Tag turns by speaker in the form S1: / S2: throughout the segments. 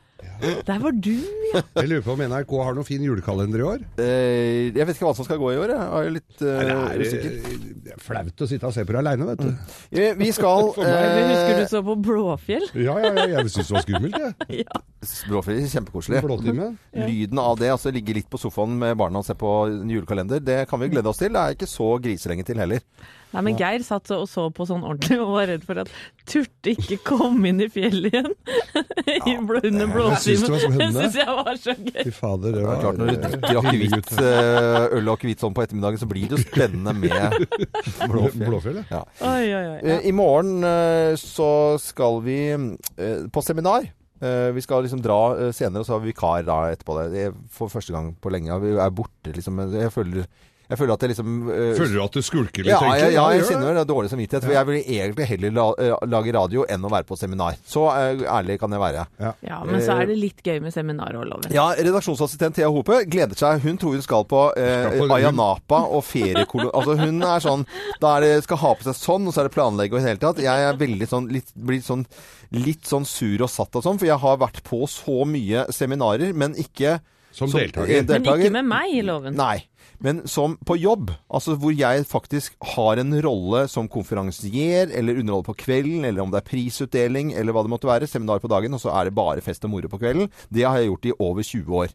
S1: Der var du, ja.
S2: Jeg lurer på om NRK har noen fin julekalender i år.
S3: Eh, jeg vet ikke hva som skal gå i år. Jeg Jeg er litt eh,
S2: Det er, Mm.
S3: usikker.
S2: eh, det er flaut å sitte og se på det aleine, vet du.
S3: Eh, Vi skal
S1: Jeg husker
S3: eh,
S1: du så på Blåfjell.
S2: Ja, ja, ja. Jeg syns det var skummelt, jeg.
S3: Språkfri, kjempekoselig.
S2: Blåtimen.
S3: Lyden av det, altså ligge litt på sofaen med barna og se på en julekalender, det kan vi glede oss til. Det er ikke så griselenge til heller.
S1: Nei, men Geir satt så og så på sånn ordentlig og var redd for at turte ikke komme inn i fjellet igjen I blå- under
S2: synes det var som
S1: blåtimen. Det
S2: hundene.
S1: syns jeg var så gøy.
S2: Fy fader, det
S3: Det er
S2: var
S3: klart, Når du drikker akevitt, eh, øl og akevitt sånn på ettermiddagen, så blir det jo spennende med blåfjell.
S2: Blåfjell, ja.
S3: Ja.
S1: Oi, oi, oi. Ja.
S3: Eh, I morgen eh, så skal vi eh, på seminar. Eh, Vi skal liksom dra eh, senere, og så har vi vikar da etterpå. Det Det er for første gang på lenge. Vi er borte, liksom. Jeg føler, jeg føler at jeg liksom eh,
S2: Føler du at du skulker litt?
S3: ja,
S2: egentlig?
S3: jeg, ja, jeg
S2: gjør det.
S3: kjenner det er dårlig samvittighet. For jeg vil egentlig heller la, eh, lage radio enn å være på seminar. Så eh, ærlig kan jeg være.
S1: ja, men så er det litt gøy med seminar òg, Loven.
S3: eh, Ja, redaksjonsassistent Thea Hope gleder seg. Hun tror hun skal på eh,
S2: Skal på-
S3: Ayanapa og feriekolon... Altså hun er sånn Da er det, skal ha på seg sånn, og så er det planlegge og i det hele tatt. Jeg er veldig sånn litt, blir sånn litt sånn sur og satt og sånn, for jeg har vært på så mye seminarer, men ikke
S2: Som deltaker.
S3: eh,
S1: Men ikke med meg, Loven.
S3: Nei. Men som på jobb, altså hvor jeg faktisk har en rolle som konferansier, eller underholder på kvelden, eller om det er prisutdeling, eller hva det måtte være. Seminar på dagen, og så er det bare fest og moro på kvelden. Det har jeg gjort i over 20 år.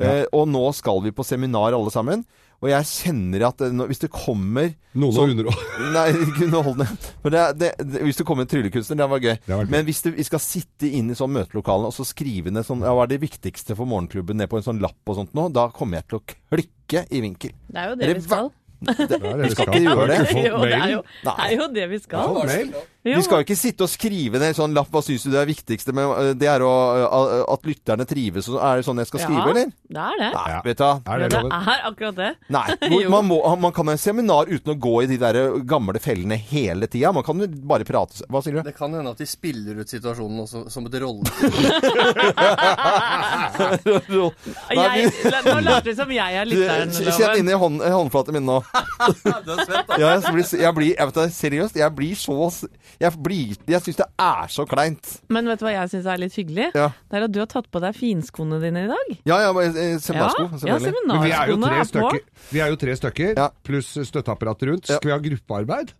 S3: Eh, og nå skal vi på seminar alle sammen. Og jeg kjenner at eh, nå- hvis det kommer
S2: Noen
S3: sånn-
S2: har under
S3: Nei, ikke underholdende. Men det, er- det, det, hvis det kommer en tryllekunstner, det var gøy.
S2: var gøy.
S3: Men hvis du, vi skal sitte inn i sånn møtelokalene og så skrive ned sånn, ja, hva er det viktigste for morgenklubben ned på en sånn lapp og sånt nå, da kommer jeg til å klikke i vinkel.
S1: Det er jo det vi skal.
S3: Det,
S2: er det
S3: vi
S2: vi
S3: skal
S2: skal.
S3: ikke gjøre det.
S2: Har ikke fått
S1: Jo, det er
S2: mail?
S1: jo, det er jo det vi skal.
S2: Fått mail?
S3: Vi skal jo ikke sitte og skrive ned sånn lapp, hva syns du det er viktigste med øh, Det er å, øh, at lytterne trives, og er det sånn jeg skal skrive, eller?
S1: Det er det.
S3: Nei,
S2: Ja.
S3: vet du hva.
S2: Er
S1: Ja,
S2: det
S1: det
S2: loven?
S1: er akkurat det.
S3: Nei, hvor-
S1: Jo.
S3: man, må, man kan ha en seminar uten å gå i de der øh, gamle fellene hele tida. Man kan jo bare prate Hva sier du?
S4: Det kan hende at de spiller ut situasjonen også, som et rolle.
S3: Nei,
S1: Jeg,
S3: vi-
S1: nå later det som jeg er lytteren,
S3: Kjenn
S1: Loven.
S3: inni hånd, håndflaten min nå. Ja, jeg blir, jeg blir, jeg vet, det, seriøst, jeg blir så Jeg, blir- jeg syns det er så kleint.
S1: Men vet du hva jeg syns er litt hyggelig?
S3: Ja,
S1: Det er at du har tatt på deg finskoene dine i dag.
S3: ja, ja men, eh,
S1: Ja,
S3: seminarsko.
S1: ja
S3: selvfølgelig.
S2: Men vi er jo
S1: seminarskoene
S2: tre
S1: er på.
S2: stykker, vi er jo tre stykker
S3: Ja.
S2: pluss støtteapparat rundt. Skal vi ha gruppearbeid?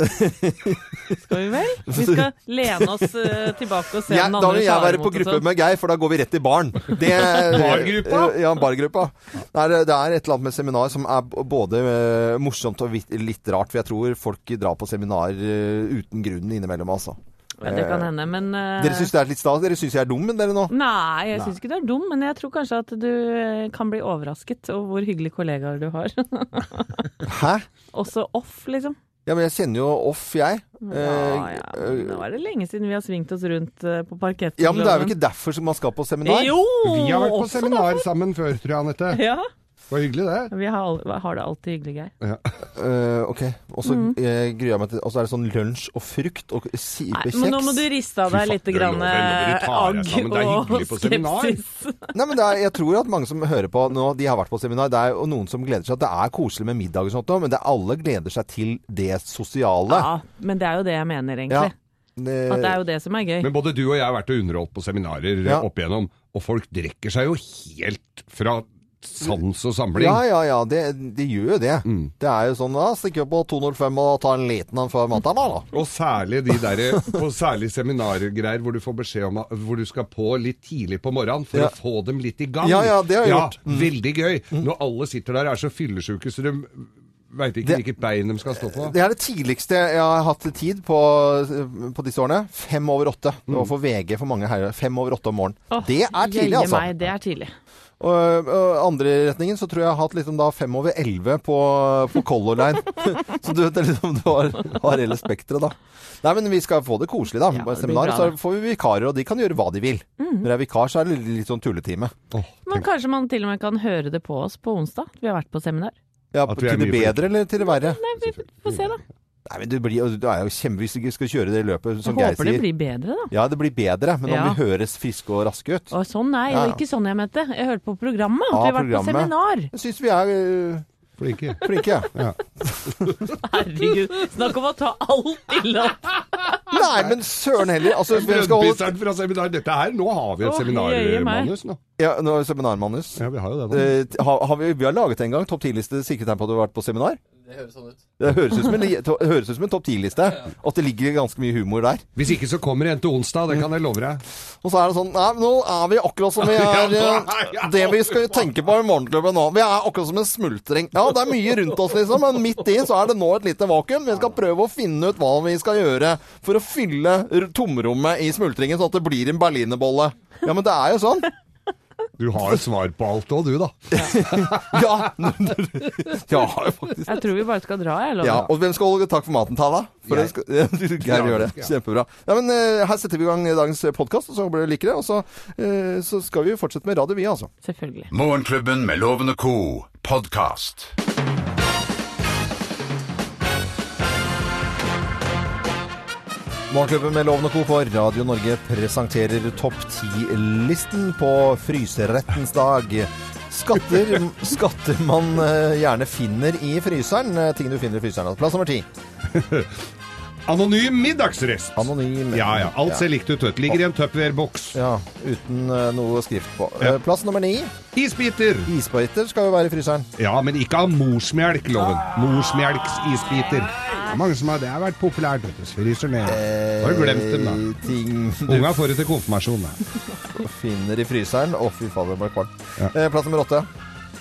S1: Skal vi vel? Vi skal lene oss eh, tilbake og se
S3: Ja,
S1: om
S3: da
S1: den andre
S3: vil jeg
S1: tar
S3: være på
S1: imot.
S3: gruppe
S1: og sånn.
S3: med Geir, for da går vi rett i baren. Det, eh,
S2: Bargruppa?
S3: Ja, bargruppa. Det er, det er et eller annet med seminar som er b- både eh, morsomt og vitt- litt rart, for jeg tror folk drar på seminar eh, uten grunn innimellom, altså.
S1: Ja, det kan hende, men eh,
S3: Dere syns det er litt stas? Dere syns jeg er dum, men dere nå?
S1: Nei, jeg syns ikke du er dum, men jeg tror kanskje at du eh, kan bli overrasket over hvor hyggelige kollegaer du har.
S3: Hæ?
S1: Også off, liksom.
S3: Ja, men jeg kjenner jo off, jeg.
S1: Ja, ja. men Nå
S3: eh,
S1: er det lenge siden vi har svingt oss rundt eh, på parketten.
S3: ja, men det er jo
S1: Loven.
S3: ikke derfor som man skal på seminar.
S1: Jo!
S2: Vi har vært på
S1: også
S2: seminar sammen før, tror jeg, Anette.
S1: da. Ja,
S2: Det var hyggelig, det.
S1: vi har, al- har det alltid hyggelig, Geir.
S3: Eh, ok, og så eh, gruer jeg meg til Og så er det sånn lunsj og frukt og sipe
S1: Nei,
S3: kjeks.
S1: men nå må du riste av
S2: Fy
S1: deg litt
S2: fader,
S1: grann,
S2: Loven,
S1: eh,
S2: når du tar deg
S1: agg
S2: sammen, det er
S1: og
S2: hyggelig på seminar.
S1: skepsis.
S3: Nei, men det er, Jeg tror at mange som hører på nå, de har vært på seminar. Det er jo noen som gleder seg at det er koselig med middag og sånt, nå, men det er alle gleder seg til det sosiale.
S1: Ja, men det er jo det jeg mener,
S3: Ja. eh,
S1: egentlig. At det er jo det som er gøy.
S2: Men både du og jeg har vært og underholdt på seminarer eh,
S3: Ja.
S2: opp igjennom, og folk drikker seg jo helt fra sans og samling.
S3: Eh, ja, ja, ja, det, de gjør jo det. Det er jo sånn da, stikker opp på 205 og tar en liten en før maten, da.
S2: Og særlig de der, på særlig seminargreier hvor du får beskjed om at- hvor du skal på litt tidlig på morgenen for
S3: Ja.
S2: å få dem litt i gang.
S3: Ja, ja, det har jeg
S2: Ja,
S3: gjort. Mm.
S2: Veldig gøy. Når alle sitter der og er så fyllesyke så de veit ikke
S3: Det-
S2: hvilket bein de skal stå på.
S3: Det er det tidligste jeg har hatt tid på, på disse årene. Fem over åtte. Det var for VG for mange herrer. Fem over åtte om morgenen.
S1: Åh,
S3: det er tidlig,
S1: jøye
S3: altså.
S1: Meg, det er tidlig.
S3: Og, og andre retningen så tror jeg jeg har hatt liksom da fem over elleve på, på Color Line. så du vet det er liksom du har, har hele spekteret, da. Nei, men vi skal få det koselig, da. på
S1: Ja, det blir
S3: seminaret
S1: bra,
S3: så
S1: det. Mhm.
S3: får vi vikarer, og de kan gjøre hva de vil. Når det er vikar, så er det litt sånn tulletime.
S2: Åh,
S1: Men kanskje man til og med kan høre det på oss på onsdag. Vi har vært på seminar.
S3: Ja,
S2: At vi er
S3: til det
S2: mye
S3: bedre eller til det verre?
S1: Nei, vi får se, da.
S3: Nei, men det, blir, jo- det er jo kjempe hvis du ikke skal kjøre det løpet, som
S1: Jeg
S3: Geir
S1: håper det
S3: sier.
S1: blir bedre, da.
S3: Ja, det blir bedre, men
S1: Ja.
S3: om vi høres friske og raske ut.
S1: Og sånn, nei,
S3: Ja, ja.
S1: ikke sånn jeg mente. Jeg hørte på programmet.
S3: Ja,
S1: vi har vært på
S3: programmet.
S1: seminar.
S3: Jeg syns vi er øh,
S2: Flinke.
S3: flinke.
S1: Herregud, snakk om å ta alt ille opp.
S3: Nei, men søren heller. Altså, hvem skal holde
S2: Brødbisteren fra seminar. Dette her, nå har vi et
S1: Å, jøye meg.
S2: seminarmanus nå.
S3: ja, nå er det Seminarmanus.
S2: Ja, vi har jo det nå.
S3: Eh, har, har vi, vi har laget en gang topp 10-liste sikret tegn på at du har vært på seminar.
S4: Det høres sånn ut.
S3: Det høres ut som en, li- to, høres ut som en topp 10-liste. At det ligger ganske mye humor der.
S2: Hvis ikke så kommer en til onsdag, det kan jeg love deg.
S3: Og så er det sånn Nei, men nå er vi akkurat som vi er eh, Det vi skal tenke på i morgenklubben nå Vi er akkurat som en smultring. Ja, det er mye rundt oss, liksom, men midt i så er det nå et lite vakuum. Vi skal prøve å finne ut hva vi skal gjøre for å fylle r- tomrommet i smultringen, sånn at det blir en berlinerbolle. Ja, men det er jo sånn.
S2: Du har jo svar på alt òg, du, da.
S3: Ja, ja faktisk.
S1: Jeg tror vi bare skal dra, jeg.
S3: Ja,
S1: Loven.
S3: og hvem skal holde takk for maten, Tala? For
S2: Jeg.
S3: det skal, Geir gjør det. Kjempebra. Ja, men eh, Her setter vi i gang dagens podkast, og så blir det likere. Og så, eh, så skal vi jo fortsette med radio, vi, altså.
S1: Selvfølgelig.
S5: Morgenklubben med Loven og Co. podkast.
S3: Morgenklubben med Loven og Co. på Radio Norge presenterer topp ti-listen på fryserettens dag. Skatter, skatter man eh, gjerne finner i fryseren. eh, Ting du finner i fryseren. Plass nummer ti.
S2: Anonym middagsrest.
S3: Anonym.
S2: Ja ja, alt ser likt ut. vet du. Ligger i en Tupperware-boks.
S3: Ja, Uten eh, noe skrift på.
S2: Ja.
S3: Eh, Plass nummer ni.
S2: Isbiter.
S3: Isbiter skal jo være i fryseren.
S2: Ja, men ikke av morsmelk, loven. Morsmelksisbiter. Det er Mange som har det har vært populært. vet du. Fryser ned. Har du glemt dem, da?
S3: Eh, Ting du
S2: Unga får det til konfirmasjon. Da.
S3: finner i fryseren. Å, fy fader, det ble kvalm.
S2: Ja.
S3: Eh, plass nummer åtte.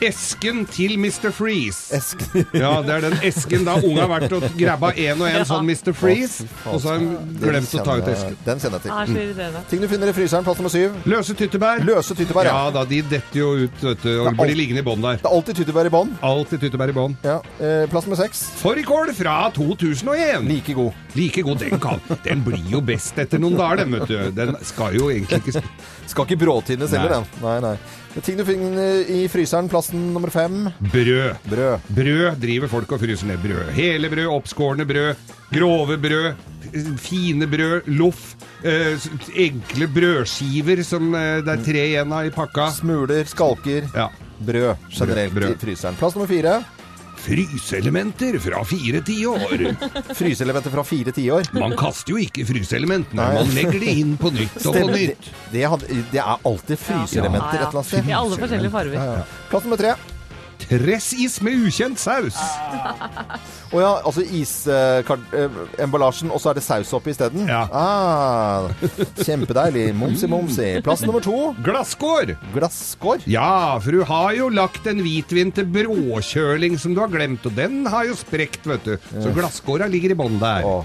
S2: Esken til Mr. Freeze.
S3: Esk.
S2: Ja, det er den esken da unga har vært og grabba én og én sånn Mr. Freeze, og så har de glemt å ta ut esken.
S3: Den kjenner jeg
S1: Ja,
S3: til.
S1: så irriterende.
S3: Ting du finner i fryseren. Plass nummer syv.
S2: Løse tyttebær.
S3: Løse tyttebær.
S2: Ja
S3: Ja.
S2: da, de detter jo ut vet du, og blir liggende i bånn der.
S3: Det er alltid tyttebær i bånn.
S2: Alltid tyttebær i bånn.
S3: Ja. Eh, plass nummer seks.
S2: Fårikål fra 2001.
S3: Like god.
S2: Like god den kan. Den blir jo best etter noen dager, den, vet du. Den skal jo egentlig ikke sp-
S3: Skal ikke bråtines heller,
S2: Nei.
S3: den. Nei, nei. Ting du finner i fryseren. Plassen nummer fem.
S2: Brød.
S3: Brød.
S2: Brød driver folk og fryser ned. Brød. Hele brød, oppskårne brød, grove brød, fine brød, loff. eh, s- enkle brødskiver som eh, det er tre igjen av i pakka.
S3: Smuler, skalker.
S2: Ja.
S3: Brød generelt
S2: Brød, brød.
S3: i fryseren. Plass nummer fire.
S2: Fryseelementer fra fire tiår.
S3: Fryseelementet fra fire tiår.
S2: Man kaster jo ikke fryseelementene.
S3: Nei.
S2: Man legger de inn på nytt og på
S3: Det,
S2: nytt.
S3: det, hadde- det er alltid fryseelementer et eller annet sted.
S1: I alle forskjellige farger.
S3: Ja. Plass nummer tre.
S2: Tressis med ukjent saus.
S3: Å ja, altså isemballasjen, og så er det saus oppi isteden?
S2: Ja.
S3: Ah, kjempedeilig. Momsi, momsi. Plass nummer to.
S2: Glasskår.
S3: Glasskår.
S2: Ja, for du har jo lagt en hvitvin til bråkjøling som du har glemt, og den har jo sprekt, vet du. Så glasskåra ligger i bånn der.
S3: Åh,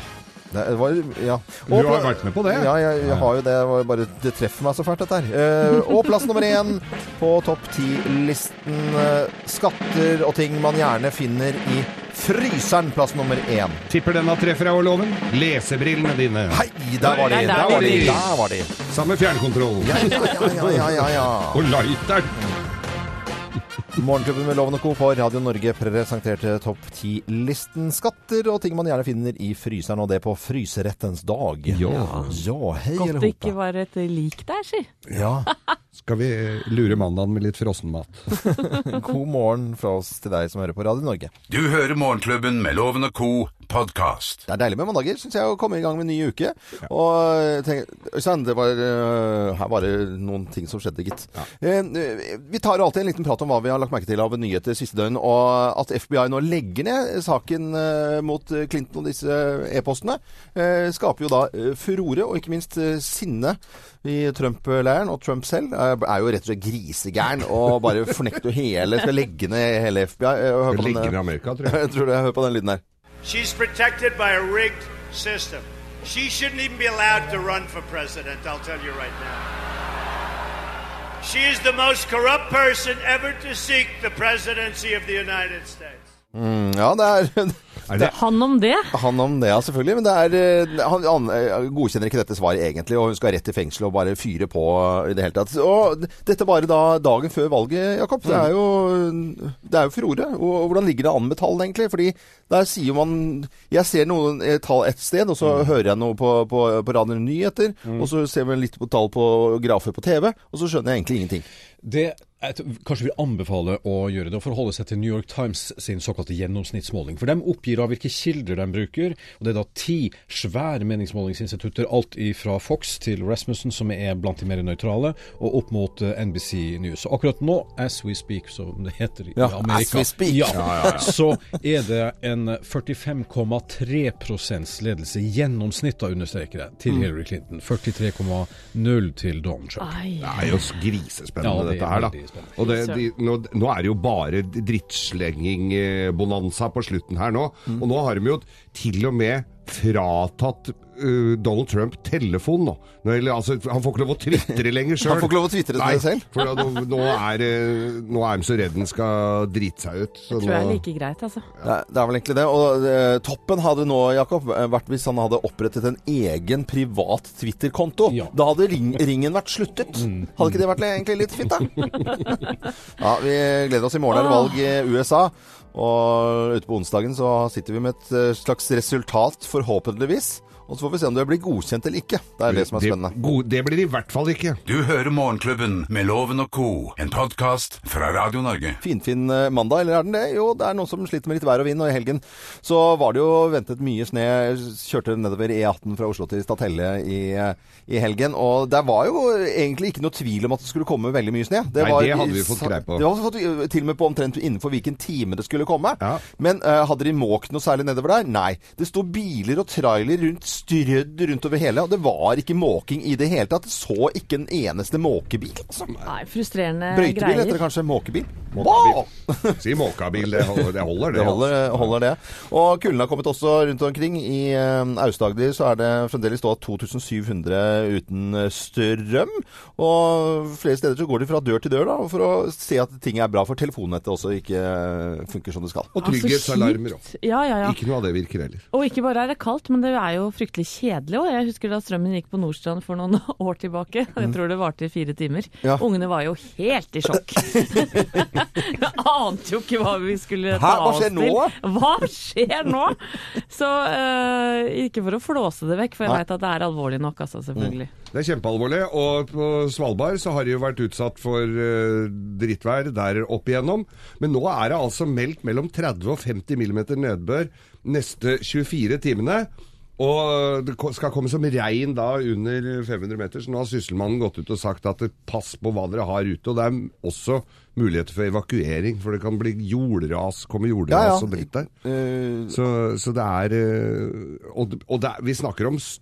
S3: Det var, ja.
S2: Du har vært med på det?
S3: Ja, jeg, jeg har jo det. Det var Bare, det treffer meg så fælt, dette her. Eh, og plass nummer én på topp ti-listen. eh, skatter og ting man gjerne finner i fryseren. Plass nummer én.
S2: Tipper denne treffer deg over loven. Lesebrillene dine.
S3: Hei, der var de!
S1: Nei, der
S3: Der
S1: var
S3: var de!
S2: de.
S3: Der var de.
S2: Samme fjernkontroll.
S3: Ja, ja, ja, ja, ja, ja.
S2: Og lighteren.
S3: Morgenklubben med Loven og Co. på Radio Norge presenterte topp 10-listen skatter og ting man gjerne finner i fryseren, og det på fryserettens dag.
S2: Ja.
S3: Ja, hei
S1: Godt
S3: eller
S1: det ikke
S3: hoppe.
S1: var et lik der, si.
S3: Ja.
S2: Skal vi lure mandagen med litt frossenmat?
S3: God morgen fra oss til deg som hører på Radio Norge.
S5: Du hører Morgenklubben med Loven og Co. podkast.
S3: Det er deilig med mandager, syns jeg, å komme i gang med en ny uke. Og eh, tenk, Øystein, det var øh, her var det noen ting som skjedde, gitt. Eh, eh, vi tar jo alltid en liten prat om hva vi har lagt merke til av nyheter siste døgn, og at FBI nå legger ned saken eh, mot eh, Clinton og disse e-postene. eh, skaper jo da eh, furore, og ikke minst eh, sinne i Trump-leiren. Og Trump selv eh, er jo rett og slett grisegæren og bare fornekter jo hele Skal legge ned hele FBI. eh, og hør på den,
S2: Ligger i
S3: eh,
S2: Amerika, tror jeg.
S3: Jeg tror det. Hør på den lyden her.
S6: She's protected by a rigged system. She shouldn't even be allowed to run for president, I'll tell you right now. She is the most corrupt person ever to seek the presidency of the United States.
S3: Mm, Ja, det er
S2: Er det-
S1: Han om det.
S3: Han om det, ja, selvfølgelig. Men det er, eh, han, han eh, godkjenner ikke dette svaret egentlig, og hun skal rett til fengsel og bare fyre på i det hele tatt. Og d- dette bare da dagen før valget, Jakob. Det er jo, det er jo furore. Og, og hvordan ligger det an med tallene, egentlig? Fordi der sier man Jeg ser noen eh, tall et sted, og så hører jeg noe på, på, på Radio Nyheter, og så ser vi litt på tall på grafer på TV, og så skjønner jeg egentlig ingenting.
S7: Det jeg tror- kanskje vil anbefale å gjøre det, å forholde seg til New York Times sin såkalte gjennomsnittsmåling. For de oppgir av hvilke kilder de bruker, og det er da ti svære meningsmålingsinstitutter, alt fra Fox til Rasmussen, som er blant de mer nøytrale, og opp mot eh, NBC News. Og akkurat nå, as we speak, som det heter i
S3: Ja, as
S7: Amerika,
S3: we speak.
S7: Ja,
S3: Ja,
S7: så er det en 45,3 ledelse i gjennomsnitt, da understreker jeg, til
S3: Mm.
S7: Hillary Clinton. 43,0 til Donald Trump.
S1: Ai.
S2: Det er jo s- grisespennende,
S7: Ja, det er
S2: dette her,
S7: veldig
S2: da.
S7: spennende.
S2: Og det, de, nå, nå er det jo bare drittslenging-bonanza på slutten her nå.
S3: Mm.
S2: Og nå har de jo til og med fratatt øh, Donald Trump telefon nå. nå eller, altså, han får ikke lov å tvitre lenger sjøl.
S3: Han får ikke lov å tvitre til det selv.
S2: For da, nå, nå, er, øh, nå er de så redd han skal drite seg ut. Så
S1: Tror jeg er
S2: nå,
S1: like greit, altså.
S3: Det er, det er vel egentlig det. Og eh, toppen hadde nå, Jakob, eh, vært hvis han hadde opprettet en egen privat Twitter-konto.
S7: Ja.
S3: Da hadde ring, ringen vært sluttet. Hadde ikke det vært egentlig litt fint, da? ja, vi gleder oss. I morgen er det valg i USA. Og ute på onsdagen så sitter vi med et eh, slags resultat, forhåpentligvis. Og så får vi se om det blir godkjent eller ikke. Det er det som er spennende.
S2: Det, god, det blir det i hvert fall ikke.
S5: Du hører Morgenklubben med Loven og Co., en podkast fra Radio Norge.
S3: Finfin eh, mandag, eller er den det? Jo, det er noen som sliter med litt vær og vind, og i helgen så var det jo ventet mye snø. Kjørte nedover E18 fra Oslo til Statelle i, i helgen, og der var jo egentlig ikke noe tvil om at det skulle komme veldig mye snø.
S2: Nei,
S3: var,
S2: det hadde vi fått greie på.
S3: Det hadde vi fått eh, til og med på omtrent innenfor hvilken time det skulle komme.
S2: Ja.
S3: Men eh, hadde de måkt noe særlig nedover der? Nei. Det sto biler og trailer rundt, strødd rundt over hele, og det var ikke måking i det hele tatt. Så ikke en eneste måkebil. Altså.
S1: Nei, frustrerende
S3: Brøytebil
S1: greier.
S3: heter det kanskje. Måkebil.
S2: Måkebil.
S3: Wow!
S2: Si måkabil, det holder, det. altså. Holder,
S3: Det holder, holder det. Og kulden har kommet også rundt omkring. I eh, Aust-Agder så er det fremdeles da 2700 uten eh, strøm. Og flere steder så går de fra dør til dør da, for å se at ting er bra for telefonnettet også ikke eh, funker som det skal.
S2: Og
S1: Ah, så
S2: trygghetsalarmer òg.
S1: kjipt. Ja, ja, ja.
S2: Ikke noe av det virker heller.
S1: Og ikke bare er det kaldt, men det er jo fryktelig kjedelig òg. Jeg husker da strømmen gikk på Nordstrand for noen år tilbake. Jeg tror det varte i fire timer.
S3: Ja.
S1: Ungene var jo helt i sjokk. Jeg ante jo ikke hva vi skulle ta
S3: Hæ? Hva
S1: oss
S3: skjer
S1: til.
S3: nå?
S1: Hva skjer nå? Så eh, ikke for å flåse det vekk, for jeg
S3: Nei. Mm.
S1: veit at det er alvorlig nok, altså, selvfølgelig.
S2: Det er kjempealvorlig. Og på Svalbard så har de jo vært utsatt for eh, drittvær der opp igjennom. Men nå er det altså meldt mellom 30 og 50 millimeter nedbør neste 24 timene. Og det ko- skal komme som regn da under 500 meter, så nå har sysselmannen gått ut og sagt at det- pass på hva dere har ute. Og det er m- også muligheter for evakuering, for det kan bli jordras, komme jordras og dritt der.
S3: Eh,
S2: Så, så det er eh, Og, og det er, vi snakker om s-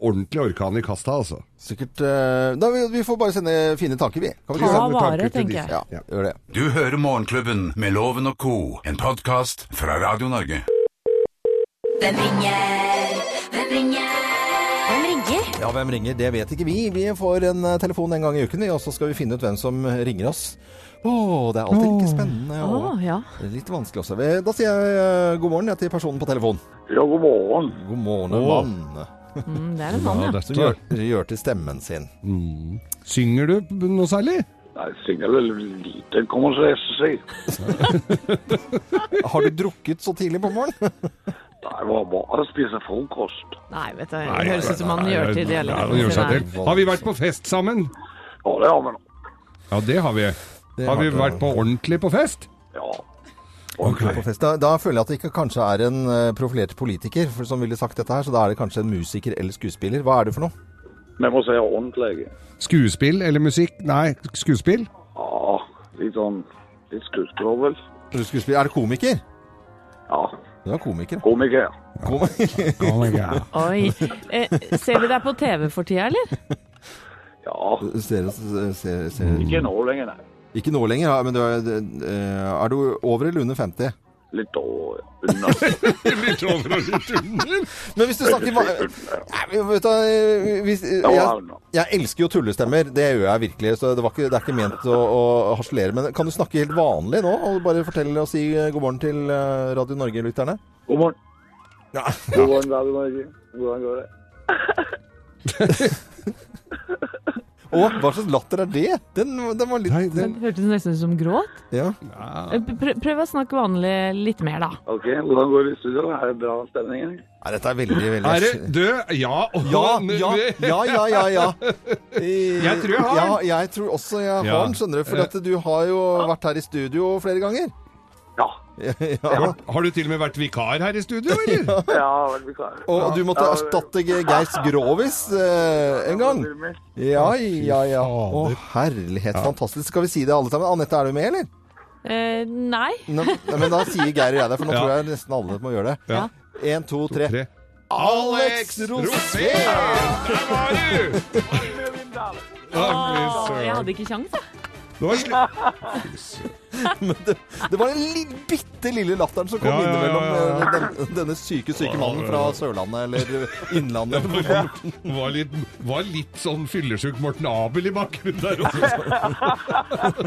S2: ordentlig orkan i kasta, altså.
S3: sikkert eh, da, vi, vi får bare sende fine tanker, vi. Kan vi ikke det?
S1: Ta
S2: sender tanker
S1: vare,
S2: til
S1: tenker
S2: disse.
S1: jeg.
S3: Ja,
S2: Ja.
S3: gjør det.
S5: Du hører Morgenklubben med Loven og Co., en podkast fra Radio Norge.
S8: Hvem ringer? Hvem ringer? Hvem ringer?
S3: Ja, hvem ringer? Det vet ikke vi. Vi får en eh, telefon en gang i uken, vi, og så skal vi finne ut hvem som ringer oss. Å, det er alltid like spennende.
S1: Å,
S3: og-
S1: ja.
S3: Det er Litt vanskelig også. Vi- Da sier jeg eh, god morgen jeg, til personen på telefon.
S9: Ja, god morgen.
S3: God morgen,
S2: Åh.
S3: mann.
S1: Mm, det er en mann, ja.
S3: Som gjør, gjør til stemmen sin.
S2: Synger du noe særlig?
S9: Nei, jeg synger vel lite, kommer det til å si.
S3: Har du drukket så tidlig på morgenen?
S9: Nei, det var bare å spise frokost.
S1: Nei, vet du, det høres ut som han gjør til
S2: Ja, han gjør seg
S1: dialekten.
S2: til. Har vi vært på fest sammen?
S9: Ja, det har vi nå.
S2: Ja, det har vi. Har vi vært på ordentlig på fest?
S9: Ja.
S3: på fest? Da, da føler jeg at det ikke kanskje er en eh, profilert politiker for, som ville sagt dette her, så da er det kanskje en musiker eller skuespiller. Hva er det for noe?
S9: Vi må si ordentlig.
S2: Skuespill eller musikk? Nei, skuespill?
S9: Ja, litt sånn litt skuespiller, vel.
S3: Er det skuespiller? Er det komiker?
S9: Ja,
S3: Du er komiker.
S9: komiker.
S3: Kom-
S1: Oi. Eh, ser vi deg på TV for tida, eller?
S9: Ja,
S3: Ser- ser- ser- ser-
S9: ikke nå lenger, nei.
S3: Ikke nå lenger, ja, men du er, eh, er du over eller under 50?
S9: Litt over under.
S2: Litt over og litt under.
S3: Men hvis du snakker va- Nei, men vet du, eh, hvis, eh,
S9: Ja,
S3: jeg,
S9: under.
S3: jeg elsker jo tullestemmer, det gjør jeg virkelig. Så det, var ikke, det er ikke ment å, å harselere. Men kan du snakke helt vanlig nå, og bare fortelle og si eh, god morgen til eh, Radio Norge-lytterne?
S9: God morgen. God morgen, Radio Norge. Hvordan går det?
S3: Å, hva slags latter er det? Den, den var litt
S2: Nei, den,
S1: Det hørtes nesten ut som gråt.
S3: ja.
S1: Prøv, prøv å snakke vanlig litt mer, da.
S9: Ok, hvordan går det i studio? Er det bra stemning? eller?
S3: Nei, dette er veldig, veldig
S2: er det død? Ja. og-
S3: Ja, ja, ja, ja, ja. ja.
S2: Jeg tror jeg har
S3: ja,
S2: den.
S3: Jeg tror også jeg har
S2: Ja.
S3: den, skjønner du. For at du har jo vært her i studio flere ganger.
S9: Ja.
S3: Ja.
S2: Har du til og med vært vikar her i studio, eller?
S9: Ja, vel vikar.
S3: Og du måtte
S9: Ja.
S3: erstatte Ge- Geis Grovis eh, en gang. Ja, ja, ja. Å, herlighet. Fantastisk. Skal vi si det alle sammen? Anette, er du med, eller?
S1: Eh, nei.
S3: Nei, nei, men da sier Geir og jeg det, for nå
S2: Ja.
S3: tror jeg nesten alle må gjøre det.
S2: Ja.
S3: Én, to, tre.
S2: Tre.
S3: Alex Rosén!
S2: Der var du!
S1: Åh,
S2: Å, fy
S1: jeg
S2: søren.
S1: hadde ikke kjangs, jeg.
S2: Det var slutt.
S3: Det var den li bitte lille latteren som kom
S2: Ja, ja, ja,
S3: innimellom
S2: ja, ja.
S3: eh, Den, denne syke, syke mannen fra Sørlandet eller Innlandet.
S2: Var litt, var litt sånn fyllesjuk Morten Abel i bakgrunnen der også.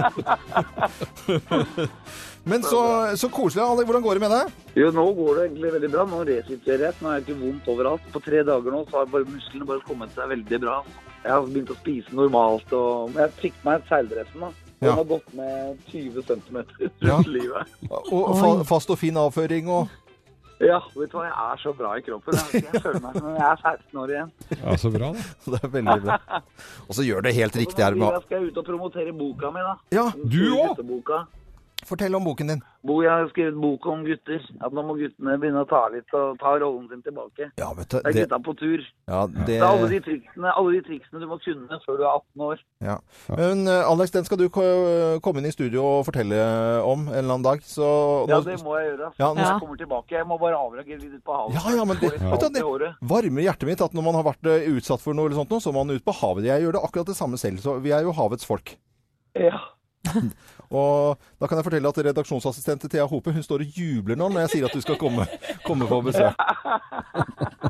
S3: Men så, så koselig. Alex, hvordan går det med deg?
S9: Jo, nå går det egentlig veldig bra. Nå resitterer jeg. Nå er jeg ikke vondt overalt. På tre dager nå så har bare musklene bare kommet seg veldig bra. Jeg har begynt å spise normalt, og men jeg fikk meg seildressen, da. Den
S3: Ja.
S9: har gått med 20 cm rundt
S3: Ja.
S9: livet.
S3: Og fa fast og fin avføring og
S9: Ja, vet du hva, jeg er så bra i kroppen. Jeg, jeg føler meg som om jeg er 16 år igjen.
S2: Ja, så bra, da.
S3: Det er veldig bra. Og så gjør det helt riktig her.
S9: Da
S3: med-
S9: skal jeg ut og promotere boka mi, da.
S3: Ja,
S2: Du òg?
S9: Gutteboka.
S3: fortell om boken din.
S9: Bo, jeg har skrevet bok om gutter. At nå må guttene begynne å ta litt og ta rollen sin tilbake.
S3: Ja, vet du.
S9: Det er
S3: Det,
S9: gutta på tur.
S3: ja, det,
S9: Det er alle de triksene, alle de triksene du må kunne før du er 18 år.
S3: ja. Men eh, Alex, den skal du ko- komme inn i studio og fortelle om en eller annen dag. Så
S9: Ja,
S3: nå-
S9: det må jeg gjøre.
S3: Ja,
S9: Ja,
S3: nå-
S9: Når jeg kommer tilbake, jeg må bare avreagere litt ut på havet.
S3: Ja, ja, men det,
S9: Få litt
S3: vet du,
S9: salt i
S3: det
S9: håret.
S3: varmer hjertet mitt at når man har vært eh, utsatt for noe, eller sånt, noe, så må man ut på havet. Jeg gjør det akkurat det samme selv, så vi er jo havets folk.
S9: Ja.
S3: Og da kan jeg fortelle at redaksjonsassistent til Thea Hope hun står og jubler nå når jeg sier at du skal komme, komme på besøk.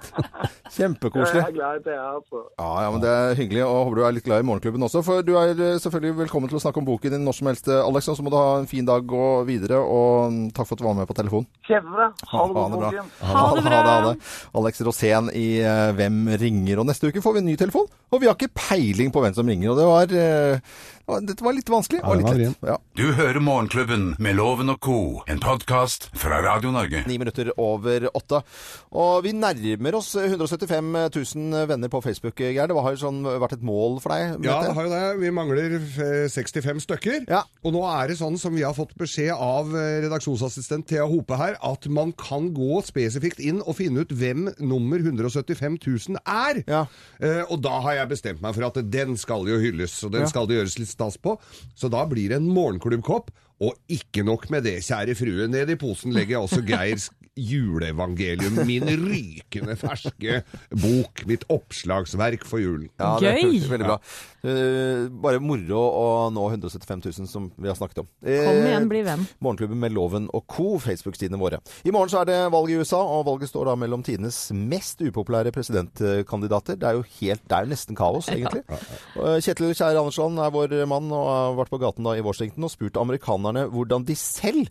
S9: Jeg
S3: Kjempekoselig.
S9: er glad i det, jeg, altså.
S3: Ja, ja, men Det er hyggelig, og håper du er litt glad i Morgenklubben også. For du er eh, selvfølgelig velkommen til å snakke om boken din når som helst, eh, Alex. Og så må du ha en fin dag og videre, og mm, takk for at du var med på telefonen.
S9: Kjempebra. Ha det godt,
S3: bra.
S9: folkens.
S1: Ha det bra.
S3: Ha det. Alex Rosén i eh, Hvem ringer? Og neste uke får vi en ny telefon, og vi har ikke peiling på hvem som ringer. Og det var, eh, det var- Dette var litt vanskelig.
S2: Ja,
S3: Og
S2: det
S3: litt
S2: var
S3: lett. Ja.
S5: Du hører Morgenklubben med Loven og co., en podkast fra Radio Norge.
S3: Ni minutter over åtte. Og vi nærmer oss eh, 175 000 venner på Facebook, Geir. Det har jo sånn vært et mål for deg? med
S2: Ja,
S3: dette.
S2: det har jo det. Vi mangler eh, 65 stykker.
S3: Ja.
S2: Og nå er det sånn som vi har fått beskjed av eh, redaksjonsassistent Thea Hope her, at man kan gå spesifikt inn og finne ut hvem nummer 175 000 er.
S3: Ja.
S2: Eh, og da har jeg bestemt meg for at den skal jo hylles, og den
S3: Ja.
S2: skal det gjøres litt stas på. Så da blir det en morgenklubbkopp. Og ikke nok med det, kjære frue. Ned i posen legger jeg også Geirs juleevangelium. Min rykende ferske bok. Mitt oppslagsverk for julen.
S3: Ja, det er
S1: Gøy!
S3: kult. Veldig bra. Eh, bare moro å nå 175 000, som vi har snakket om. Eh,
S1: Kom igjen, bli venn.
S3: Morgenklubben med Loven og co., Facebook-sidene våre. I morgen så er det valg i USA, og valget står da mellom tidenes mest upopulære presidentkandidater. Det er jo helt, det er jo nesten kaos, egentlig. Eh, Kjetil Kjær Andersson er vår mann og har vært på gaten da i Washington og spurt amerikanerne hvordan de selv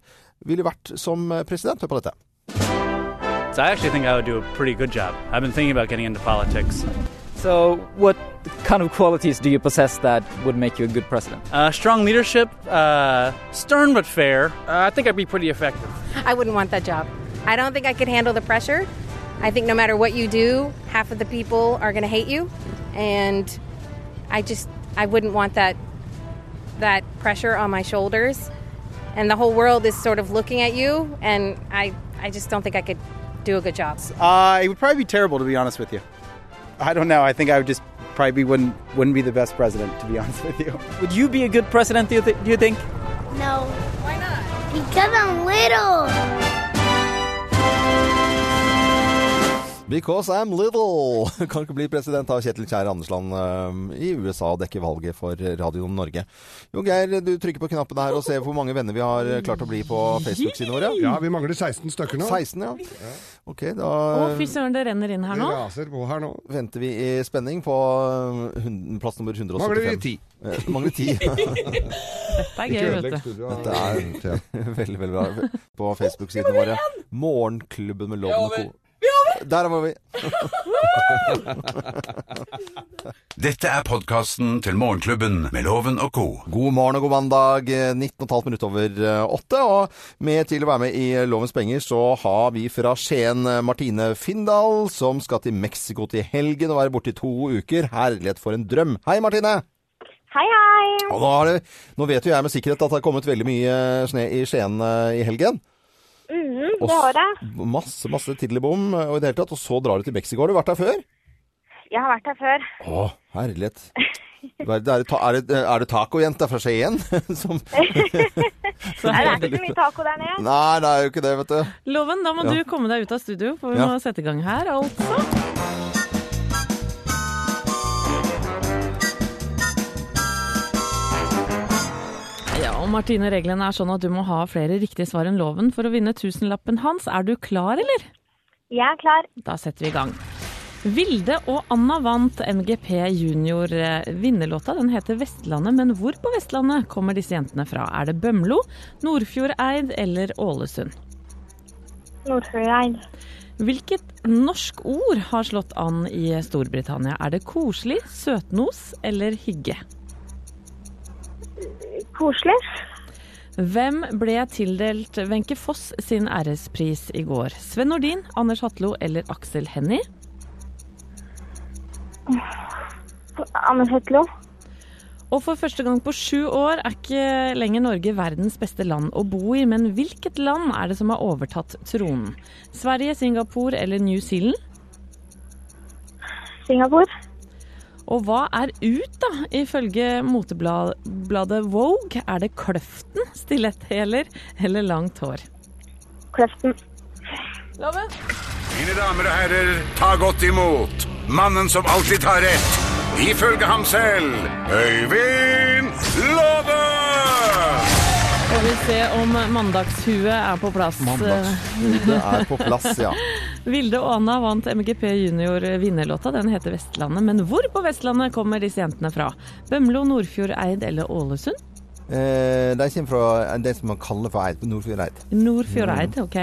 S3: ville vært som president. Hør på dette.
S10: So I actually think I would do a pretty good job. I've been thinking about getting into politics. So, what kind of qualities do you possess that would make you a good president? Uh, strong leadership, uh, stern but fair. Uh, I think I'd be pretty effective.
S11: I wouldn't want that job. I don't think I could handle the pressure. I think no matter what you do, half of the people are going to hate you, and I just I wouldn't want that that pressure on my shoulders. And the whole world is sort of looking at you, and I I just don't think I could do a good job.
S10: Uh, it would probably be terrible, to be honest with you. I don't know. I think I would just probably wouldn't wouldn't be the best president, to be honest with you. Would you be a good president? Do you, th- do you think?
S8: No,
S11: Why not?
S8: because I'm little.
S3: Because I'm little! Kan ikke bli president av Kjetil Kjær Andersland eh, i USA og dekke valget for Radio Norge. Jo Geir, du trykker på knappen her og ser hvor mange venner vi har eh, klart å bli på Facebook-siden vår. Ja.
S2: Ja, vi mangler 16 stykker nå.
S3: 16, ja. Ok, da
S1: Å, fy søren, det renner inn her nå.
S2: Det raser på her nå.
S3: venter vi i spenning på eh, hun- plass nummer 175.
S2: Mangler vi ti?
S3: Eh, Mangler 10.
S1: Det er gøy, vet du.
S3: Dette
S2: studioet.
S3: veldig, veldig bra. På Facebook-sidene våre. Morgenklubben med Loven og Co. Der var vi.
S5: Dette er podkasten til Morgenklubben med Loven og co.
S3: God morgen og god mandag. eh, 19,5 minutter over eh, åtte. Og med til å være med i Lovens penger så har vi fra Skien eh, Martine Findal, som skal til Mexico til helgen og være borte i to uker. Herlighet for en drøm. Hei, Martine.
S12: Hei, hei.
S3: Og nå, har det, nå vet jo jeg med sikkerhet at det har kommet veldig mye snø i Skien eh, i helgen.
S12: Mhm,
S3: Og
S12: det har det.
S3: s- Masse, masse tidligbom eh, og i det hele tatt. Og så drar du til Mexico. Har du vært der før?
S12: Jeg har vært her før.
S3: Å, herlighet. Det Er, det er, ta- er, det, er det tacojenta fra Skien som
S12: Nei, det er ikke så mye taco der nede.
S3: Nei, det er jo ikke det, vet du.
S1: Loven, da må
S3: Ja.
S1: du komme deg ut av studio, for vi
S3: Ja.
S1: må sette i gang her, altså. Ja, og Martine, reglene er sånn at du må ha flere riktige svar enn loven for å vinne tusenlappen hans. Er du klar, eller?
S12: Jeg er klar.
S1: Da setter vi i gang. Vilde og Anna vant MGP Junior. Eh, Vinnerlåta den heter 'Vestlandet', men hvor på Vestlandet kommer disse jentene fra? Er det Bømlo, Nordfjordeid eller Ålesund?
S12: Nordfjordeid.
S1: Hvilket norsk ord har slått an i Storbritannia? Er det koselig, søtnos eller hygge?
S12: Koselig.
S1: Hvem ble tildelt Wenche Foss sin ærespris i går? Sven Nordin, Anders Hatlo eller Aksel Hennie?
S12: Anders Hetlo.
S1: Og for første gang på sju år er ikke lenger Norge verdens beste land å bo i, men hvilket land er det som har overtatt tronen? Sverige, Singapore eller New Zealand?
S12: Singapore.
S1: Og hva er ut, da? Ifølge motebladet Vogue er det kløften, stiletthæler eller langt hår?
S12: Kløften.
S1: Loven?
S5: Mine damer og herrer, ta godt imot mannen som alltid tar rett, ifølge ham selv, Øyvind Låve!
S1: Får vi se om mandagshuet er på plass.
S3: Mandagshuet er på plass, ja.
S1: Vilde og Anna vant MGP Junior vinnerlåta. Den heter 'Vestlandet'. Men hvor på Vestlandet kommer disse jentene fra? Bømlo, Nordfjordeid eller Ålesund?
S3: Eh, de kommer fra det som man kaller for Eid, Nordfjordeid.
S1: Nordfjordeid, ok.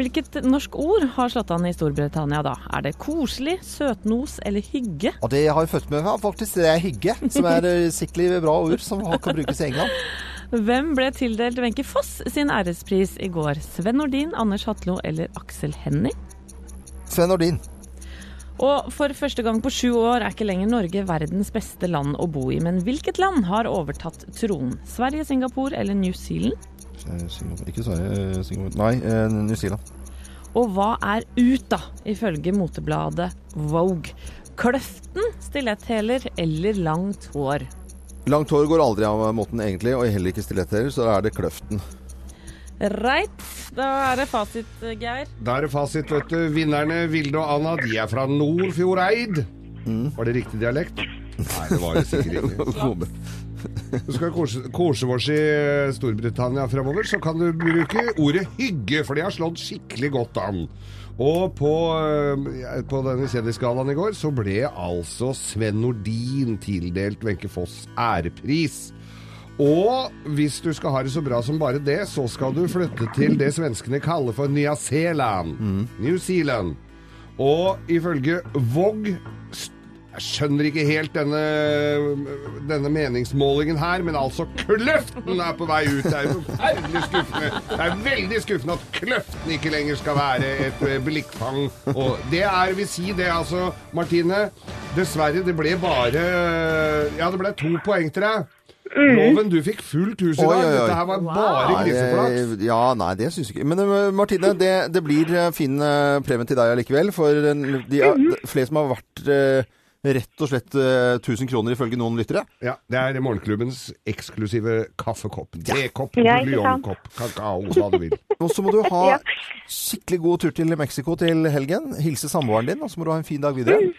S1: Hvilket norsk ord har slått an i Storbritannia da? Er det koselig, søtnos eller hygge?
S3: Og det har jeg født med meg, faktisk. Det er hygge, som er eh, sikkert bra ord som har- kan brukes i England.
S1: Hvem ble tildelt Wenche Foss sin ærespris i går? Sven Nordin, Anders Hatlo eller Aksel Hennie?
S3: Sven Nordin.
S1: Og for første gang på sju år er ikke lenger Norge verdens beste land å bo i. Men hvilket land har overtatt tronen? Sverige, Singapore eller New Zealand?
S3: Eh, Singapore, ikke Sverige eh, Singapore. Nei, eh, New Zealand.
S1: Og hva er ut, da, ifølge motebladet Vogue? Kløften, stiletthæler eller langt hår?
S3: Langt hår går aldri av moten egentlig, og heller ikke stiletthæler, så da er det kløften.
S1: Reit. Da er det fasit, Geir.
S2: Da er det fasit, vet du. Vinnerne Vilde og Anna, de er fra Nordfjordeid. Var det riktig dialekt? Mm. Nei, det var jo sikkert ikke. Du skal kose, kose oss i eh, Storbritannia fremover, så kan du bruke ordet hygge, for det har slått skikkelig godt an. Og på, eh, på denne kjendisgallaen i går så ble altså Sven Nordin tildelt Wenche Foss ærepris. Og hvis du skal ha det så bra som bare det, så skal du flytte til det svenskene kaller for Nya Zealand. New Zealand. Og ifølge Vogue st- Jeg skjønner ikke helt denne, denne meningsmålingen her, men altså Kløften er på vei ut! Det er jo forferdelig skuffende. Det er veldig skuffende at Kløften ikke lenger skal være et eh, blikkfang. Og det er, vil si det, altså, Martine. Dessverre, det ble bare Ja, det ble to poeng til deg.
S3: Mm.
S2: Loven, du fikk fullt hus i dag. Dette her var bare griseflaks.
S3: Nei, det- Ja, nei, det syns jeg ikke. Men eh, Martine, det, det blir eh, fin eh, premie til deg allikevel. For den- de, er- de flere som har vært eh, rett og slett eh, 1000 kroner ifølge noen lyttere.
S2: Ja, det er morgenklubbens eksklusive kaffekopp. Tekopp,
S3: Ja, ikke sant.
S2: buljongkopp, kakao, hva du vil.
S3: Og så må du ha
S2: Ja.
S3: skikkelig god tur til Mexico til helgen. Hilse samboeren din, og så må du ha en fin dag videre.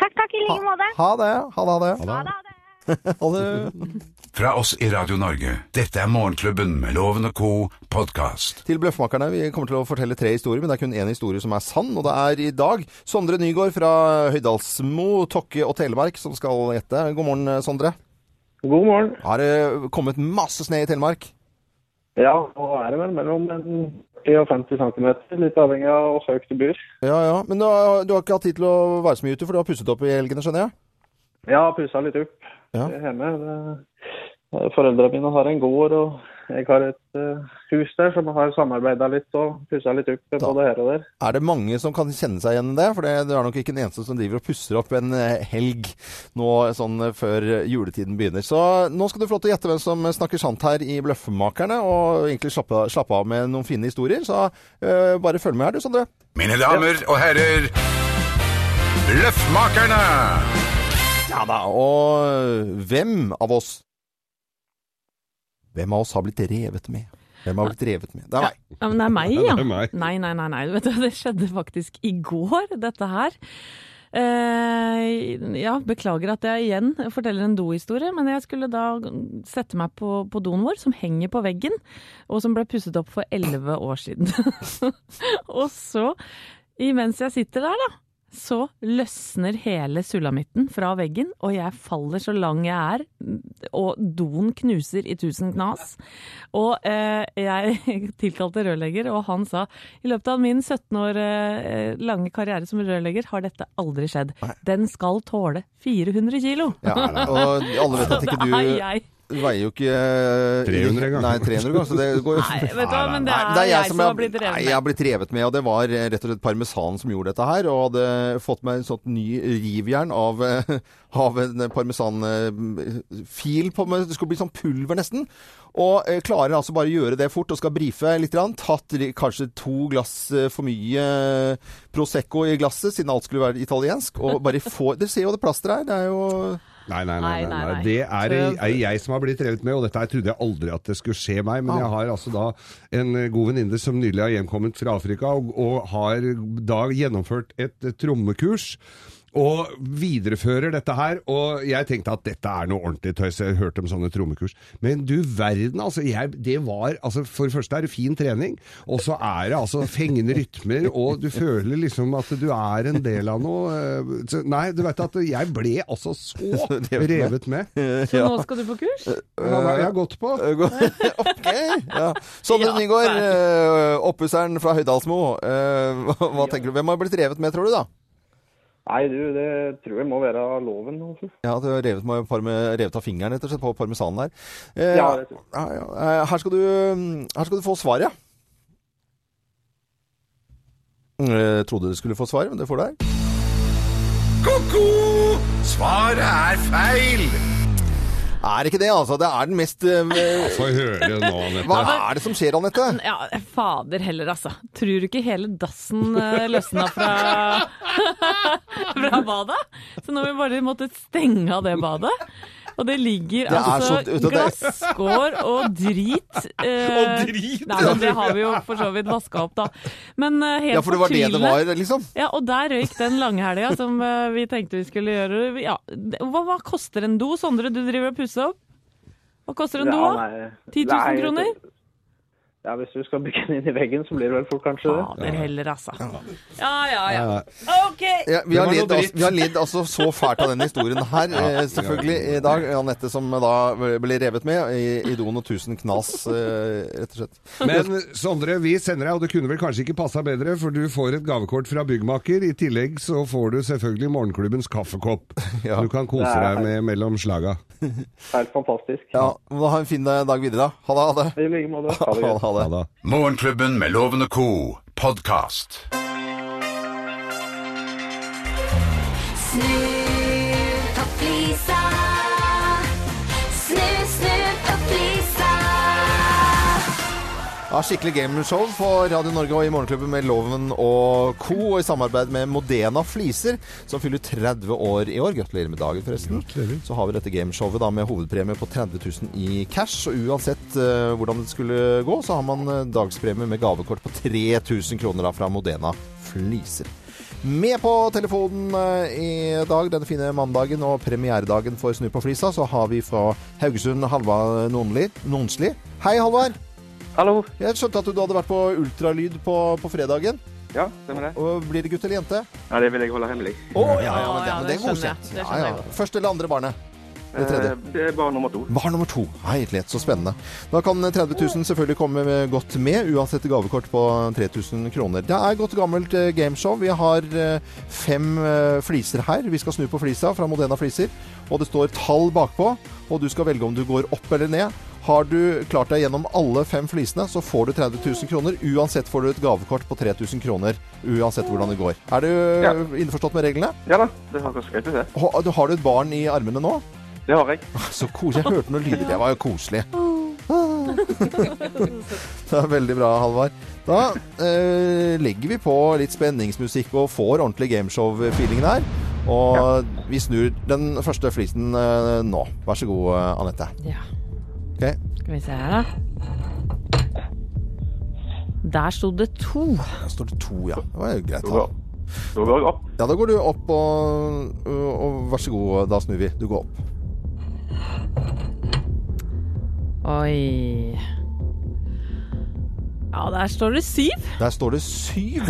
S12: Takk, takk i like måte.
S3: Ha det. Ha det. Ha det.
S5: Ha
S3: Ha det.
S5: Fra oss i Radio Norge, dette er Morgenklubben med Loven og co. podkast.
S3: Til Bløffmakerne. Vi kommer til å fortelle tre historier, men det er kun én historie som er sann. Og det er i dag Sondre Nygård fra Høydalsmo, Tokke og Telemark som skal gjette. God morgen, Sondre.
S13: God morgen.
S3: Har det kommet masse snø i Telemark?
S13: Ja, nå er det vel mellom en 40 og 50 cm, litt avhengig av hvor høyt det blir.
S3: Ja, ja. Men du har, du har ikke hatt tid til å være så mye ute, for du har pusset opp i helgene, skjønner jeg?
S13: Ja, pussa litt opp
S3: Ja.
S13: hjemme. Det, foreldrene mine har en gård, og jeg har et eh, hus der, så vi har samarbeida litt og pussa litt opp både her og der.
S3: Er det mange som kan kjenne seg igjen i det? For det, det er nok ikke den eneste som driver og pusser opp en eh, helg nå sånn eh, før juletiden begynner. Så nå skal du få lov til å gjette hvem som snakker sant her i Bløffmakerne, og egentlig slappe, slappe av med noen fine historier. Så eh, bare følg med her du, Sondre.
S5: Mine damer og herrer, Løffmakerne!
S3: Ja da, og eh, hvem av oss Hvem av oss har blitt revet med? Hvem har blitt revet med? Det er meg.
S1: Ja, men det er meg, ja.
S3: Det er meg.
S1: Nei, nei, nei, nei. Vet du, det skjedde faktisk i går, dette her. Eh, ja, beklager at jeg igjen forteller en dohistorie, men jeg skulle da sette meg på, på doen vår, som henger på veggen, og som ble pusset opp for elleve år siden. og så, imens jeg sitter der, da, så løsner hele sulamitten fra veggen, og jeg faller så lang jeg er, og doen knuser i tusen knas. Og eh, jeg tilkalte rørlegger, og han sa i løpet av min 17 år eh, lange karriere som rørlegger har dette aldri skjedd. Den skal tåle 400 kilo!
S3: Ja, og alle vet at ikke
S1: Så det er jeg.
S3: du veier jo ikke eh,
S2: 300 engang.
S3: Nei, 300 gang, så det går jo
S1: Nei, vet du hva, men det er,
S3: Nei, det er jeg, som
S1: har
S3: har-
S1: blitt revet
S3: Nei,
S1: med.
S3: jeg har blitt revet med, og det var eh, rett og slett parmesan som gjorde dette her. Og hadde fått meg en sånn ny rivjern av, eh, av en parmesanfil på meg. Det skulle bli sånn pulver nesten. Og eh, klarer altså bare å gjøre det fort og skal brife litt. Grann. Tatt li- kanskje to glass eh, for mye eh, Prosecco i glasset, siden alt skulle være italiensk. Og bare få Dere ser jo det plasteret her. Det er jo
S2: Nei, nei, nei. nei,
S3: nei.
S2: nei. Det er, er jeg som har blitt revet med, og dette her trodde jeg aldri at det skulle skje meg. Men
S3: Ah.
S2: jeg har altså da en god venninne som nylig har hjemkommet fra Afrika, og, og har da gjennomført et eh, trommekurs. Og viderefører dette her, og jeg tenkte at dette er noe ordentlig tøys. Jeg hørte om sånne trommekurs. Men du verden, altså. Jeg, det var altså For det første er det fin trening, og så er det altså fengende rytmer, og du føler liksom at du er en del av noe. eh, Så, nei, du veit at jeg ble altså så revet med.
S1: Så nå skal du på kurs?
S2: Hva var det jeg har gått på?
S3: ok. Ja. Sånn Sondre Nygaard, eh, oppusseren fra Høydalsmo. eh, hva, hva tenker du? Hvem har blitt revet med, tror du, da?
S13: Nei, du, det tror jeg må være loven. Altså.
S3: Ja, du har revet, med parme, revet av fingeren rett og slett på parmesanen der. Eh,
S13: Ja, det
S3: ja, ja. Eh, Her, skal du, mm, her skal du få svaret, ja. Eh, trodde du skulle få svaret, men det får du her.
S5: Ko-ko! Svaret er feil!
S3: Er ikke det, altså? Det er den mest eh,
S2: Få høre nå, Anette.
S3: Hva er det som skjer, Anette?
S1: Ja, fader heller, altså. Tror du ikke hele dassen eh, løsna fra, fra badet? Så nå har vi bare måttet stenge av det badet. Og det ligger
S3: Det er
S1: altså
S3: så- vet du, det-
S1: glasskår og drit. eh,
S3: Og drit,
S1: Nei, men det har vi jo for så vidt vaska opp, da. Men eh, helt
S3: Ja, for det var det det
S1: fortvilende-
S3: var, liksom?
S1: Ja, og der røyk den langhelga som eh, vi tenkte vi skulle gjøre. Ja, det- hva, hva koster en do? Sondre, du driver og pusser opp. Hva koster en do?
S13: Ja,
S1: da?
S13: nei.
S1: 10 000
S13: Nei,
S1: kroner?
S13: Ja, hvis du skal bygge den inn i veggen, så blir det vel fort kanskje det.
S1: Fader heller, altså. Ja, ja, ja.
S3: Ja.
S1: OK!
S3: Ja, vi, har lidd, altså, vi har lidd altså så fælt av denne historien her, eh, selvfølgelig, i dag. Anette som da ble revet med i, i doen og tusen knas, eh, rett og slett.
S2: Men Sondre, vi sender deg, og det kunne vel kanskje ikke passa bedre, for du får et gavekort fra byggmaker. I tillegg så får du selvfølgelig morgenklubbens kaffekopp. Du kan kose
S3: Det er-
S2: deg med mellom slaga.
S13: Helt fantastisk.
S3: Ja, men da Ha en fin dag videre, da. Ha det. Ha det.
S13: I like måte.
S3: Ha det. Ha det.
S5: Morgenklubben med Loven og Co. podkast.
S8: Snu på flisa. Snu, snu på flisa.
S3: Ja, skikkelig gameshow for Radio Norge og i Morgenklubben med Loven og co. Og i samarbeid med Modena Fliser, som fyller 30 år i år. Gratulerer med dagen, forresten. Så har vi dette gameshowet da med hovedpremie på 30 000 i cash. Og uansett eh, hvordan det skulle gå, så har man eh, dagspremie med gavekort på 3000 kroner da fra Modena Fliser. Med på telefonen eh, i dag, denne fine mandagen og premieredagen for Snu på flisa, så har vi fra Haugesund Halvard Nonli- Nonsli. Hei, Halvard.
S13: Hallo.
S3: Jeg skjønte at du hadde vært på ultralyd på, på fredagen.
S13: Ja, stemmer det.
S3: Og blir det gutt eller jente?
S13: Ja, det vil jeg holde hemmelig.
S3: Å, ja, ja, men det, men det er godkjent. Ja, ja. Første eller andre barnet? Det tredje.
S13: Eh, Det er barn nummer to.
S3: Barn nummer to. Herlighet, så spennende. Da kan 30 000 selvfølgelig komme med- godt med, uansett gavekort på 3000 kroner. Det er godt gammelt eh, gameshow. Vi har eh, fem eh, fliser her. Vi skal snu på flisa fra Modena Fliser. Og det står tall bakpå, og du skal velge om du går opp eller ned. Har du klart deg gjennom alle fem flisene, så får du 30 000 kroner. Uansett får du et gavekort på 3000 kroner, uansett hvordan det går. Er du
S13: Ja.
S3: innforstått med reglene?
S13: Ja da, det har ganske greit ut, det.
S3: Har har du et barn i armene nå?
S13: Det har jeg.
S3: Så koselig. Jeg hørte noen lyder. Det var jo koselig. Det er veldig bra, Halvard. Da eh, legger vi på litt spenningsmusikk og får ordentlig gameshow-feelingen her. Og vi snur den første flisen eh, nå. Vær så god, eh, Anette.
S1: Ja.
S3: Ok.
S1: Skal vi se her, da. Der sto det to.
S3: Der står det to, ja. Det var jo greit.
S1: Da
S3: Da.
S1: går-
S13: Da går jeg opp.
S3: Ja, da går du opp, og, og vær så god, da snur vi. Du går opp.
S1: Oi. Ja, der står det syv.
S3: Der står det syv.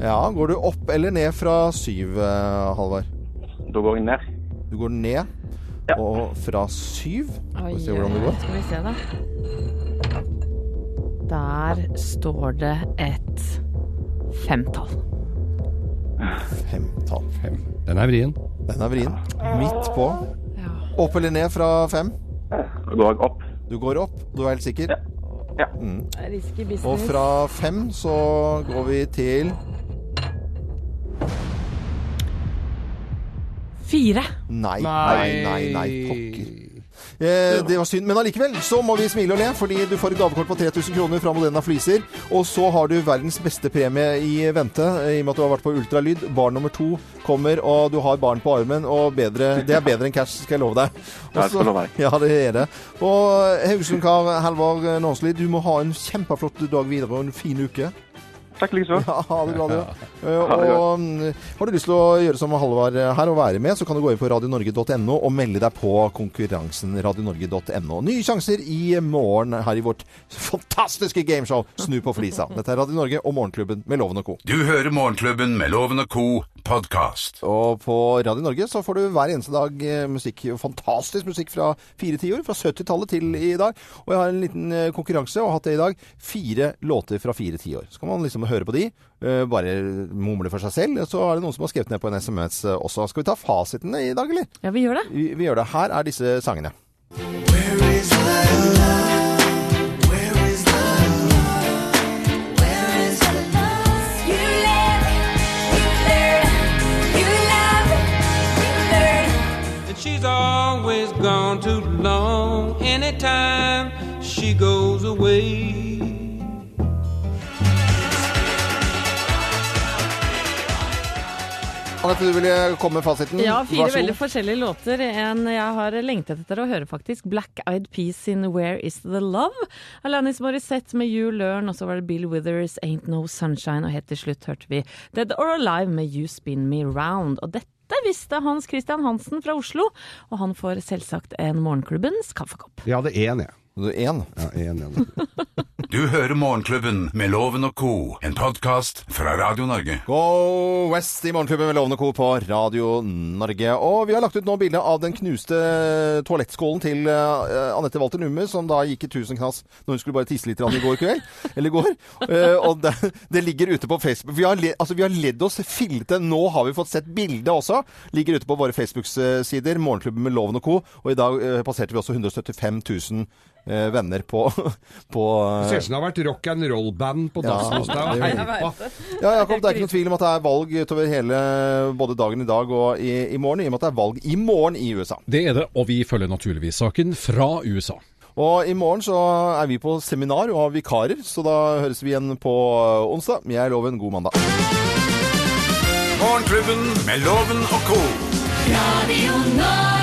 S3: Ja, går du opp eller ned fra syv, eh, Halvard?
S13: Da går jeg ned.
S3: Du går ned, og fra syv Skal vi se hvordan det går.
S1: Skal vi se, da. Der står det et femtall.
S3: Femtall.
S7: Den er vrien.
S3: Den er vrien. Midt på. Opp eller ned fra fem?
S13: Da går jeg opp.
S3: Du går opp, du er helt sikker? Mm.
S1: Risky business.
S3: Og fra fem så går vi til
S1: Fire.
S3: Nei, nei, nei, nei, pokker. Eh, det var synd, men allikevel så må vi smile og le, fordi du får et gavekort på 3000 kroner fra Modena Fliser. Og så har du verdens beste premie i vente, eh, i og med at du har vært på ultralyd. Barn nummer to kommer, og du har barn på armen, og bedre, det er bedre enn cash, skal jeg love deg.
S13: Ja, jeg skal
S3: Også-
S13: love deg.
S3: Ja, det er det. Og Haugesundkar Halvor Nåsli, du må ha en kjempeflott dag videre og en fin uke.
S13: Takk liksom.
S3: Ja, ha det bra, du. Eh,
S13: Ha det
S3: Og mm, har du lyst til å gjøre som Halvard eh, her og være med, så kan du gå inn på radionorge.no og melde deg på konkurransen radionorge.no. Nye sjanser i morgen her i vårt fantastiske gameshow Snu på flisa. Dette er Radio Norge og Morgenklubben med Loven og co.
S5: Du hører Morgenklubben med Loven og Co. podkast.
S3: Og på Radio Norge så får du hver eneste dag eh, musikk, fantastisk musikk fra fire tiår, fra 70-tallet til i dag. Og jeg har en liten eh, konkurranse, og har hatt det i dag. Fire låter fra fire tiår. Så kan man liksom høre på de, eh, bare mumle for seg selv. Så er det noen som har skrevet ned på en SMS eh, også. Skal vi ta fasiten i dag, eller?
S1: Ja, vi gjør det.
S3: Vi, vi gjør det. Her er disse sangene.
S14: And she's always gone too long anytime she goes away.
S3: Anette, du ville komme med fasiten.
S1: Ja, fire
S3: Vær så god.
S1: veldig forskjellige låter. En jeg har lengtet etter å høre, faktisk. Black Eyed Peas sin Where Is The Love? Alanis Morissette med You Learn, og så var det Bill Withers Ain't No Sunshine, og helt til slutt hørte vi Dead Or Alive med You Spin Me Round. Og dette visste Hans Christian Hansen fra Oslo, og han får selvsagt en Morgenklubbens kaffekopp.
S2: Jeg hadde én, jeg.
S3: Du én?
S2: Ja, én, én.
S5: Du hører Morgenklubben med Loven og Co., en podkast fra Radio Norge.
S3: Go West i Morgenklubben med Lovende Co. på Radio Norge. Og vi har lagt ut nå bilde av den knuste toalettskålen til eh, Anette Walter Numme, som da gikk i tusen knas når hun skulle bare tisse litt grann i går kveld. Eller i går. Eh, og det, det ligger ute på Facebook. Vi har, le, altså, vi har ledd oss fillete. Nå har vi fått sett bildet også. Ligger ute på våre Facebook-sider. Morgenklubben med Loven og Co. Og i dag eh, passerte vi også 175 000 eh, venner på, på eh,
S2: Det ser ut som det har vært rock and roll-band på
S3: Ja,
S2: Dagsnytt. da.
S3: det er jo-
S2: Hei, hva?
S3: Ja, Jakob, det er ikke noe tvil om at det er valg utover hele både dagen i dag og i, i morgen, i og med at det er valg i morgen i USA.
S7: Det er det, og vi følger naturligvis saken fra USA.
S3: Og i morgen så er vi på seminar og har vikarer, så da høres vi igjen på onsdag. Jeg lover en god mandag.
S5: Morgenklubben med Loven og Co.
S8: Radio Norge.